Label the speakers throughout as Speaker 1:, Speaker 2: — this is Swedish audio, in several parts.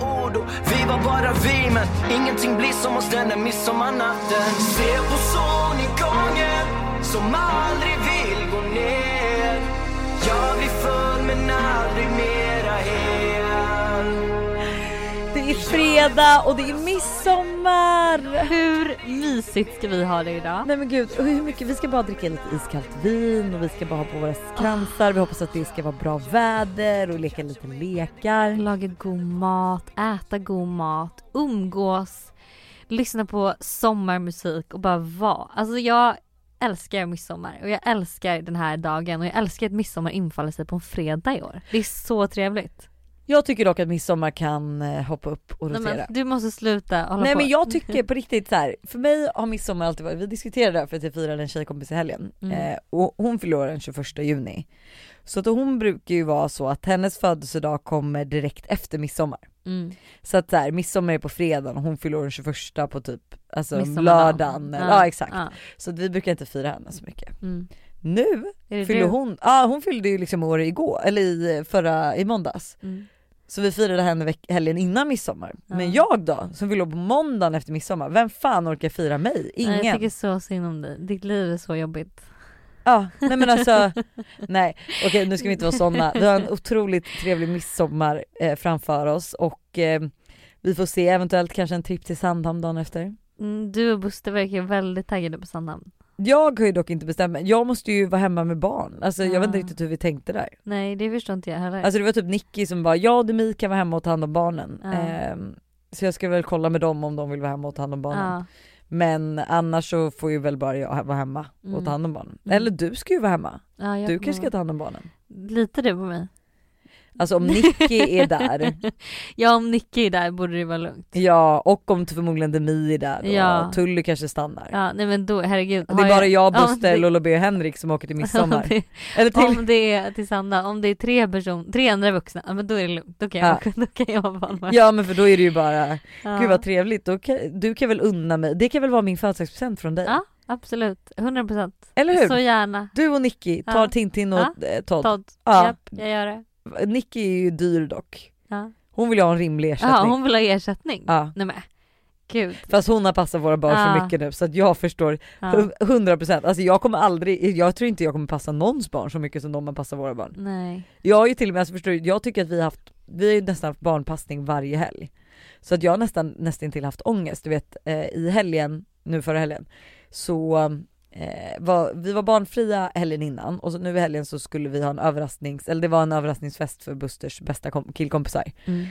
Speaker 1: Vi var bara vi, men ingenting blir som oss den där midsommarnatten. Se på solnedgången som aldrig vill gå ner. Jag blir full men aldrig mera hel.
Speaker 2: Det är fredag och det är midsommar!
Speaker 3: Hur mysigt ska vi ha det idag?
Speaker 2: Nej men gud, och hur mycket, vi ska bara dricka lite iskallt vin och vi ska bara ha på våra kransar. Vi hoppas att det ska vara bra väder och leka lite lekar.
Speaker 3: Laga god mat, äta god mat, umgås, lyssna på sommarmusik och bara vara. Alltså jag älskar midsommar och jag älskar den här dagen och jag älskar att midsommar infaller sig på en fredag i år. Det är så trevligt.
Speaker 2: Jag tycker dock att midsommar kan eh, hoppa upp och
Speaker 3: Nej,
Speaker 2: rotera.
Speaker 3: men, du måste sluta hålla
Speaker 2: Nej
Speaker 3: på.
Speaker 2: men jag tycker på riktigt så här. för mig har midsommar alltid varit, vi diskuterade det här för att jag firade en tjejkompis i helgen
Speaker 3: Mm.
Speaker 2: eh, och hon förlorar den 21 juni. Så att hon brukar ju vara så att hennes födelsedag kommer direkt efter midsommar.
Speaker 3: Mm.
Speaker 2: Så att så här, midsommar är på fredagen och hon fyller år den 21 på typ alltså
Speaker 3: Midsommardagen.
Speaker 2: lördagen. Eller,
Speaker 3: Ja,
Speaker 2: ja. exakt.
Speaker 3: ja.
Speaker 2: Så att vi brukar inte fira henne så mycket.
Speaker 3: Mm.
Speaker 2: Nu
Speaker 3: Är det
Speaker 2: fyller
Speaker 3: du?
Speaker 2: hon, ja hon fyllde ju liksom år igår, eller i förra, i måndags.
Speaker 3: Mm.
Speaker 2: Så vi firade henne veck- helgen innan midsommar. Men
Speaker 3: Ja.
Speaker 2: jag då, som fyller år på måndagen efter midsommar, vem fan orkar fira mig? Ingen.
Speaker 3: Nej, jag tycker så synd om dig. Ditt liv är så jobbigt.
Speaker 2: Ja, nej men alltså, nej okej nu ska vi inte vara sådana. Vi har en otroligt trevlig midsommar eh, framför oss och eh, vi får se eventuellt kanske en tripp till Sandhamn dagen efter.
Speaker 3: Mm, Du och Buster verkar väldigt taggade på Sandhamn.
Speaker 2: Jag har ju dock inte bestämt mig, jag måste ju vara hemma med barn. Alltså jag vet inte
Speaker 3: Ah.
Speaker 2: riktigt hur vi tänkte där.
Speaker 3: Nej det förstår inte jag heller.
Speaker 2: Alltså det var typ Nicky som bara, jag och Demi kan vara hemma och ta hand om barnen.
Speaker 3: Ja.
Speaker 2: Ehm, så jag ska väl kolla med dem om de vill vara hemma och ta hand om barnen.
Speaker 3: ja.
Speaker 2: Men annars så får ju väl bara jag vara hemma och
Speaker 3: Mm.
Speaker 2: ta hand om barnen.
Speaker 3: Mm.
Speaker 2: Eller du ska ju vara hemma,
Speaker 3: Ja, jag
Speaker 2: du
Speaker 3: kommer
Speaker 2: kanske ska
Speaker 3: ihåg.
Speaker 2: ta hand om barnen.
Speaker 3: Litar du på mig?
Speaker 2: Alltså om Nicky är där,
Speaker 3: Ja om Nicky är där borde det vara lugnt.
Speaker 2: ja och om förmodligen Demi är där och
Speaker 3: Ja.
Speaker 2: Tully kanske stannar.
Speaker 3: Ja nej men då, herregud.
Speaker 2: Det är bara jag,
Speaker 3: ja,
Speaker 2: Buster,
Speaker 3: det-
Speaker 2: Lulla B och Henrik som åker till midsommar.
Speaker 3: Om det,
Speaker 2: Eller till
Speaker 3: om det är till Sanna, om det är tre person, tre andra vuxna, ja, men då är det lugnt. Då kan jag, då kan jag vara barnvakt.
Speaker 2: Ja men för då är det ju bara,
Speaker 3: Ja.
Speaker 2: gud vad trevligt, då kan, du kan väl unna mig, det kan väl vara min födelsedagspresent från dig?
Speaker 3: Ja absolut, 100 procent.
Speaker 2: Eller hur?
Speaker 3: Så gärna.
Speaker 2: Du och Nicky tar
Speaker 3: Ja.
Speaker 2: Tintin och
Speaker 3: Ja.
Speaker 2: eh, Todd.
Speaker 3: Todd,
Speaker 2: Ja.
Speaker 3: japp jag gör det.
Speaker 2: Nicky är ju dyr dock.
Speaker 3: Ja.
Speaker 2: Hon vill ju ha en rimlig ersättning.
Speaker 3: Jaha hon vill ha ersättning?
Speaker 2: Ja.
Speaker 3: Nej men gud.
Speaker 2: Fast hon har passat våra barn
Speaker 3: Ja.
Speaker 2: så mycket nu så att jag förstår
Speaker 3: Ja.
Speaker 2: hu- 100%. Alltså jag kommer aldrig, jag tror inte jag kommer passa någons barn så mycket som de har passat våra barn.
Speaker 3: Nej.
Speaker 2: Jag har ju till och med, alltså förstår du, jag tycker att vi har haft, vi har ju nästan haft barnpassning varje helg. Så att jag har nästan, nästan till haft ångest, du vet eh, i helgen, nu förra helgen, så eh, var, vi var barnfria helgen innan och så nu i helgen så skulle vi ha en överrasknings, eller det var en överraskningsfest för Busters bästa kom, killkompisar.
Speaker 3: Mm.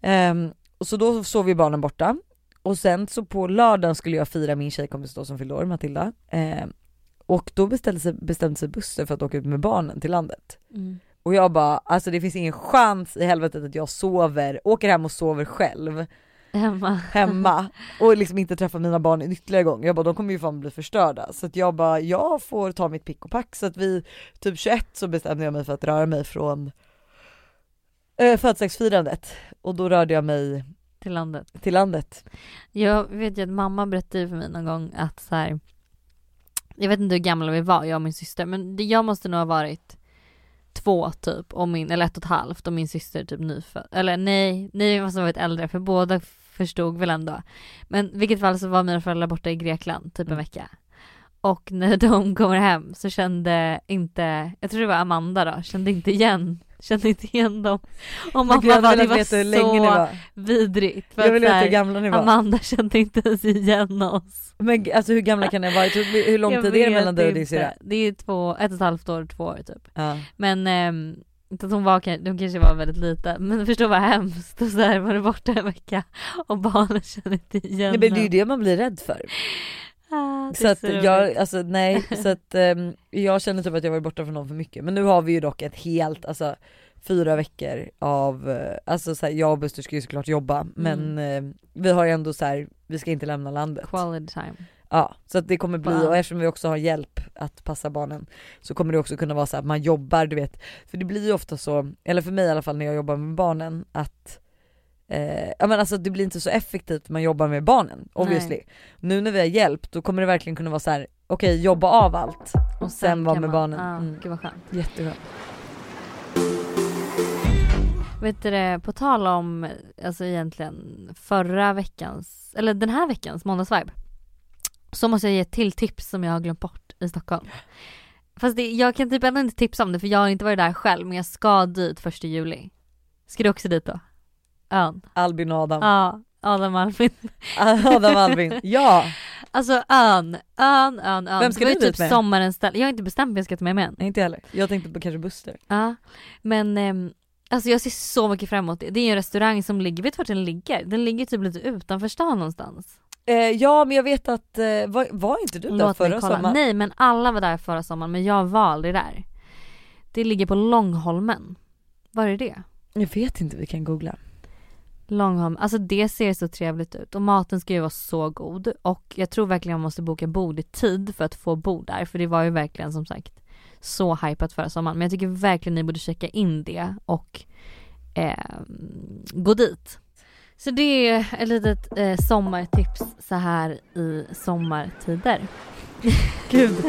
Speaker 2: Ehm, och så då sov vi barnen borta och sen så på lördagen skulle jag fira min tjejkompis då som fyllde år, Matilda. Ehm, och då beställde sig, bestämde sig Buster för att åka ut med barnen till landet.
Speaker 3: Mm.
Speaker 2: Och jag bara, alltså det finns ingen chans i helvetet att jag sover, åker hem och sover själv
Speaker 3: Hemma.
Speaker 2: hemma och liksom inte träffar mina barn en ytterligare gång. Jag bara, de kommer ju fan bli förstörda. Så att jag bara, jag får ta mitt pick och pack. Så att vi, typ 21 så bestämde jag mig för att röra mig från eh, födelsedagsfirandet. Och då rörde jag mig
Speaker 3: till landet.
Speaker 2: till landet.
Speaker 3: Jag vet ju att mamma berättade för mig någon gång att så här. Jag vet inte hur gamla vi var, jag och min syster, men det- jag måste nog ha varit två typ, och min, eller ett och ett halvt och min syster typ nyfödd. Eller nej, nej vi måste ha varit äldre för båda förstod väl ändå. Men i vilket fall så var mina föräldrar borta i Grekland typ en
Speaker 2: Mm.
Speaker 3: vecka. Och när de kommer hem så kände inte, jag tror det var Amanda då, kände inte igen, kände inte igen dem. Och mamma
Speaker 2: jag hade
Speaker 3: bara, det
Speaker 2: velat
Speaker 3: var
Speaker 2: veta
Speaker 3: så
Speaker 2: hur länge ni var.
Speaker 3: vidrigt. För
Speaker 2: Jag
Speaker 3: att
Speaker 2: vill
Speaker 3: så
Speaker 2: veta
Speaker 3: här-
Speaker 2: hur gamla ni var.
Speaker 3: Amanda kände inte ens igen oss.
Speaker 2: Men g- alltså hur gamla kan ni ha varit? Hur hur lång
Speaker 3: Jag
Speaker 2: tid är det
Speaker 3: vet
Speaker 2: mellan dig och din
Speaker 3: inte.
Speaker 2: syrra?
Speaker 3: Det är två, ett och ett halvt år, två år typ.
Speaker 2: Ja.
Speaker 3: Men ehm, så att hon var, kan- de kanske var väldigt lite, men förstå vad hemskt. Och så här var du borta en vecka och barnen kände inte igen
Speaker 2: Nej, men det är ju
Speaker 3: henne.
Speaker 2: det man blir rädd för.
Speaker 3: Ah, det är
Speaker 2: Så att
Speaker 3: roligt.
Speaker 2: jag, alltså nej, så att ehm, jag känner typ att jag var borta från dem för mycket. Men nu har vi ju dock ett helt, alltså fyra veckor av, eh, alltså så här, jag och Buster ska ju såklart jobba men
Speaker 3: Mm.
Speaker 2: eh, vi har ju ändå så här, vi ska inte lämna landet.
Speaker 3: Quality time.
Speaker 2: Ja, så att det kommer bli,
Speaker 3: Wow.
Speaker 2: och eftersom vi också har hjälp att passa barnen så kommer det också kunna vara så att man jobbar, du vet. För det blir ju ofta så, eller för mig i alla fall när jag jobbar med barnen, att eh, ja, men alltså, det blir inte så effektivt när man jobbar med barnen obviously. Nu när vi har hjälp då kommer det verkligen kunna vara så här: okej jobba av allt. Och sen vara
Speaker 3: kan
Speaker 2: med Mm.
Speaker 3: man-
Speaker 2: barnen.
Speaker 3: Ah,
Speaker 2: Mm.
Speaker 3: Gud vad skönt.
Speaker 2: Jättebra.
Speaker 3: Vet du det, på tal om, alltså egentligen förra veckans, eller den här veckans måndagsvibe. Så måste jag ge ett till tips som jag har glömt bort i Stockholm. Fast det, jag kan typ ändå inte tipsa om det för jag har inte varit där själv men jag ska dit första juli. Ska du också dit då? Ön?
Speaker 2: Albin och Adam.
Speaker 3: Ja, Adam Alvin.
Speaker 2: Adam Albin. Ja,
Speaker 3: Alltså ön, ön, ön, ön.
Speaker 2: Vem ska
Speaker 3: det
Speaker 2: du
Speaker 3: var ju
Speaker 2: dit
Speaker 3: typ
Speaker 2: med?
Speaker 3: sommarens ställe. Jag har inte bestämt vem jag ska ta med mig än.
Speaker 2: nej, inte heller. Jag tänkte på kanske Buster.
Speaker 3: Ja, men ehm, alltså jag ser så mycket fram emot det. Det är ju en restaurang som ligger, vet du vart den ligger? Den ligger typ lite utanför stan någonstans.
Speaker 2: Eh, ja men jag vet att, eh, var, var inte du där
Speaker 3: Låt mig
Speaker 2: förra
Speaker 3: kolla.
Speaker 2: sommaren?
Speaker 3: Nej men alla var där förra sommaren men jag var aldrig där. Det ligger på Långholmen. Var är det?
Speaker 2: Jag vet inte, vi kan googla.
Speaker 3: Långholmen, alltså det ser så trevligt ut och maten ska ju vara så god och jag tror verkligen man måste boka bord i tid för att få bord där för det var ju verkligen som sagt så hypat förra sommaren men jag tycker verkligen ni borde checka in det och eh, gå dit. Så det är ett litet eh, sommartips så här i sommartider.
Speaker 2: Gud.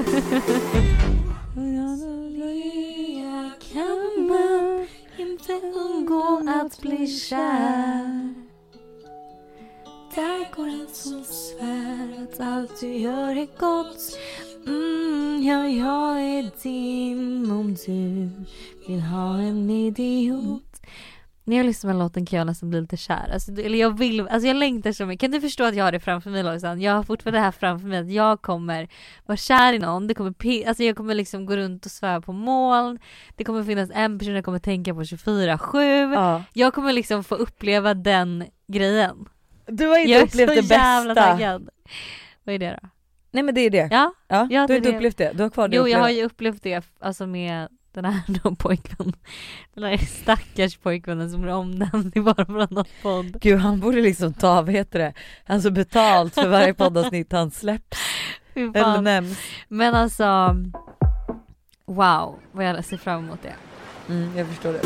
Speaker 3: kan man inte undgå att bli kär Där går en som svär att allt du gör är gott Mm, ja, jag är din om du vill ha en idiot När jag lyssnar på den låten kan jag nästan bli lite kär. Alltså, det- eller jag vill, alltså jag längtar så mycket. Kan du förstå att jag har det framför mig Lojsan? Jag har fortfarande det här framför mig att jag kommer vara kär i någon. Det kommer, pi- alltså jag kommer liksom gå runt och sväva på moln. Det kommer finnas en person jag kommer tänka på 24-7.
Speaker 2: Ja.
Speaker 3: Jag kommer liksom få uppleva den grejen.
Speaker 2: Du har inte
Speaker 3: jag
Speaker 2: upplevt det bästa.
Speaker 3: jävla taggad. Vad är det då?
Speaker 2: Nej men det är det.
Speaker 3: Ja,
Speaker 2: Ja, du
Speaker 3: Ja, det
Speaker 2: har
Speaker 3: är
Speaker 2: inte
Speaker 3: det.
Speaker 2: upplevt det, du har kvar det
Speaker 3: jo
Speaker 2: att
Speaker 3: jag har
Speaker 2: uppleva.
Speaker 3: ju upplevt det alltså med den här då pojkvännen. Den här stackars pojkvännen som blir omnämnd i var och varannan podd.
Speaker 2: Gud han borde liksom ta, vad heter det, alltså betalt för varje poddavsnitt han släpps
Speaker 3: Fy fan.
Speaker 2: eller nämns.
Speaker 3: Men alltså, wow vad jag ser fram emot det.
Speaker 2: Mm, jag förstår det.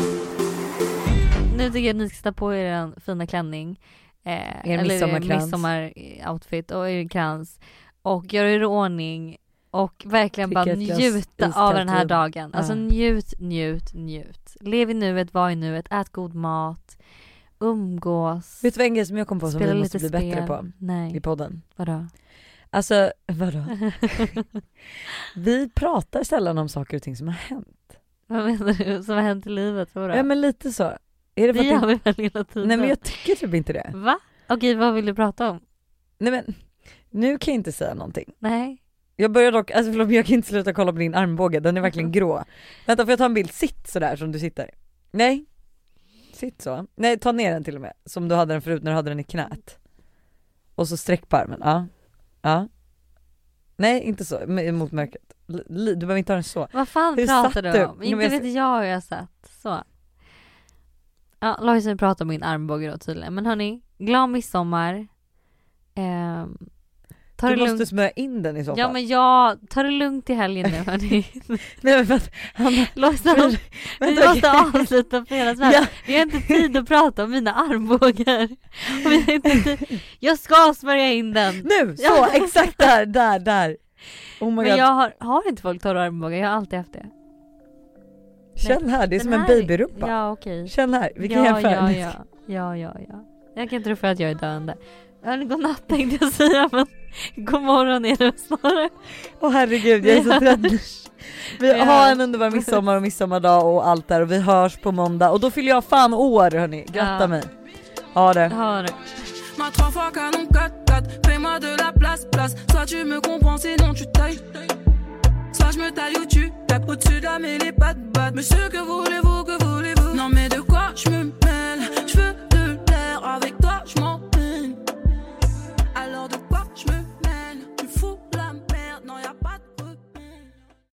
Speaker 3: Nu tycker jag att ni ska sätta på er en fina klänning. Eh,
Speaker 2: Er midsommarkrans.
Speaker 3: midsommaroutfit och er krans. Och göra er i ordning och verkligen
Speaker 2: Dricka
Speaker 3: bara
Speaker 2: ett glas
Speaker 3: njuta av
Speaker 2: iskallt
Speaker 3: den här
Speaker 2: vin.
Speaker 3: dagen. Alltså
Speaker 2: Ja.
Speaker 3: njut, njut, njut. Lev i nuet, var i nuet, ät god mat, umgås,
Speaker 2: Vet du vad en grej som jag kom på som vi måste bli bättre på i
Speaker 3: Nej,
Speaker 2: podden?
Speaker 3: vadå?
Speaker 2: Alltså vadå? Vi pratar sällan om saker och ting som har hänt.
Speaker 3: Vad menar du? Som har hänt i livet? Vadå?
Speaker 2: Ja men lite så. Är det
Speaker 3: det
Speaker 2: för att
Speaker 3: gör
Speaker 2: det...
Speaker 3: vi väl hela tiden?
Speaker 2: Nej men jag tycker typ inte det.
Speaker 3: Va? Okej, vad vill du prata om?
Speaker 2: Nej men nu kan jag inte säga någonting.
Speaker 3: Nej.
Speaker 2: Jag börjar dock, alltså förlåt men jag kan inte sluta kolla på din armbåge, den är
Speaker 3: Mm.
Speaker 2: verkligen grå. Vänta får jag ta en bild, sitt sådär som du sitter. Nej. Sitt så. Nej ta ner den till och med, som du hade den förut när du hade den i knät. Och så sträck på armen, ja. Ja. Nej inte så, men mot mörkret. L- li- Du behöver inte ha den så.
Speaker 3: Vad fan
Speaker 2: Hur
Speaker 3: pratar
Speaker 2: satt
Speaker 3: du
Speaker 2: du?
Speaker 3: om?
Speaker 2: Nej,
Speaker 3: Inte
Speaker 2: men jag-
Speaker 3: vet jag hur jag satt. Så. Ja, Lojsan pratar om min armbåge då tydligen. Men hörni, glad midsommar. Ehm, ta
Speaker 2: Du
Speaker 3: det
Speaker 2: måste
Speaker 3: lugnt.
Speaker 2: smörja in den i så fall.
Speaker 3: Ja men jag, ta det lugnt i helgen nu hörni.
Speaker 2: Nej men för att, Hanna,
Speaker 3: Lojsan, vi
Speaker 2: vänta.
Speaker 3: måste avsluta fredagsvärlden.
Speaker 2: Ja.
Speaker 3: Vi har inte tid att prata om mina armbågar. Och vi har inte tid. Jag ska smörja in den.
Speaker 2: Nu! Så,
Speaker 3: Ja.
Speaker 2: exakt där, där, där! Oh my
Speaker 3: Men
Speaker 2: god,
Speaker 3: jag har, har inte folk torra armbågar, jag har alltid haft det.
Speaker 2: känn här, det är
Speaker 3: Den
Speaker 2: som en
Speaker 3: här-
Speaker 2: babyrumpa.
Speaker 3: Ja okej.
Speaker 2: Känn här, vi kan
Speaker 3: ja,
Speaker 2: jämföra.
Speaker 3: ja, ja, ja, ja, ja. Jag kan tro för att jag är döende. Hörni, god natt tänkte jag säga men god morgon är det snarare.
Speaker 2: Åh herregud, jag är så
Speaker 3: Vi
Speaker 2: trött. Vi
Speaker 3: Vi
Speaker 2: har
Speaker 3: hörs.
Speaker 2: en underbar midsommar och midsommardag och allt där och vi hörs på måndag och då fyller jag fan år hörni, gratta
Speaker 3: Ja.
Speaker 2: mig. Ha det.
Speaker 3: Hör.
Speaker 4: Ma trois fois canon 4-4 Fais-moi de la place, place Soit tu me comprends, sinon tu tailles Soit je me taille ou tu tapes Au-dessus de la mêlée, pas de batte Monsieur, que voulez-vous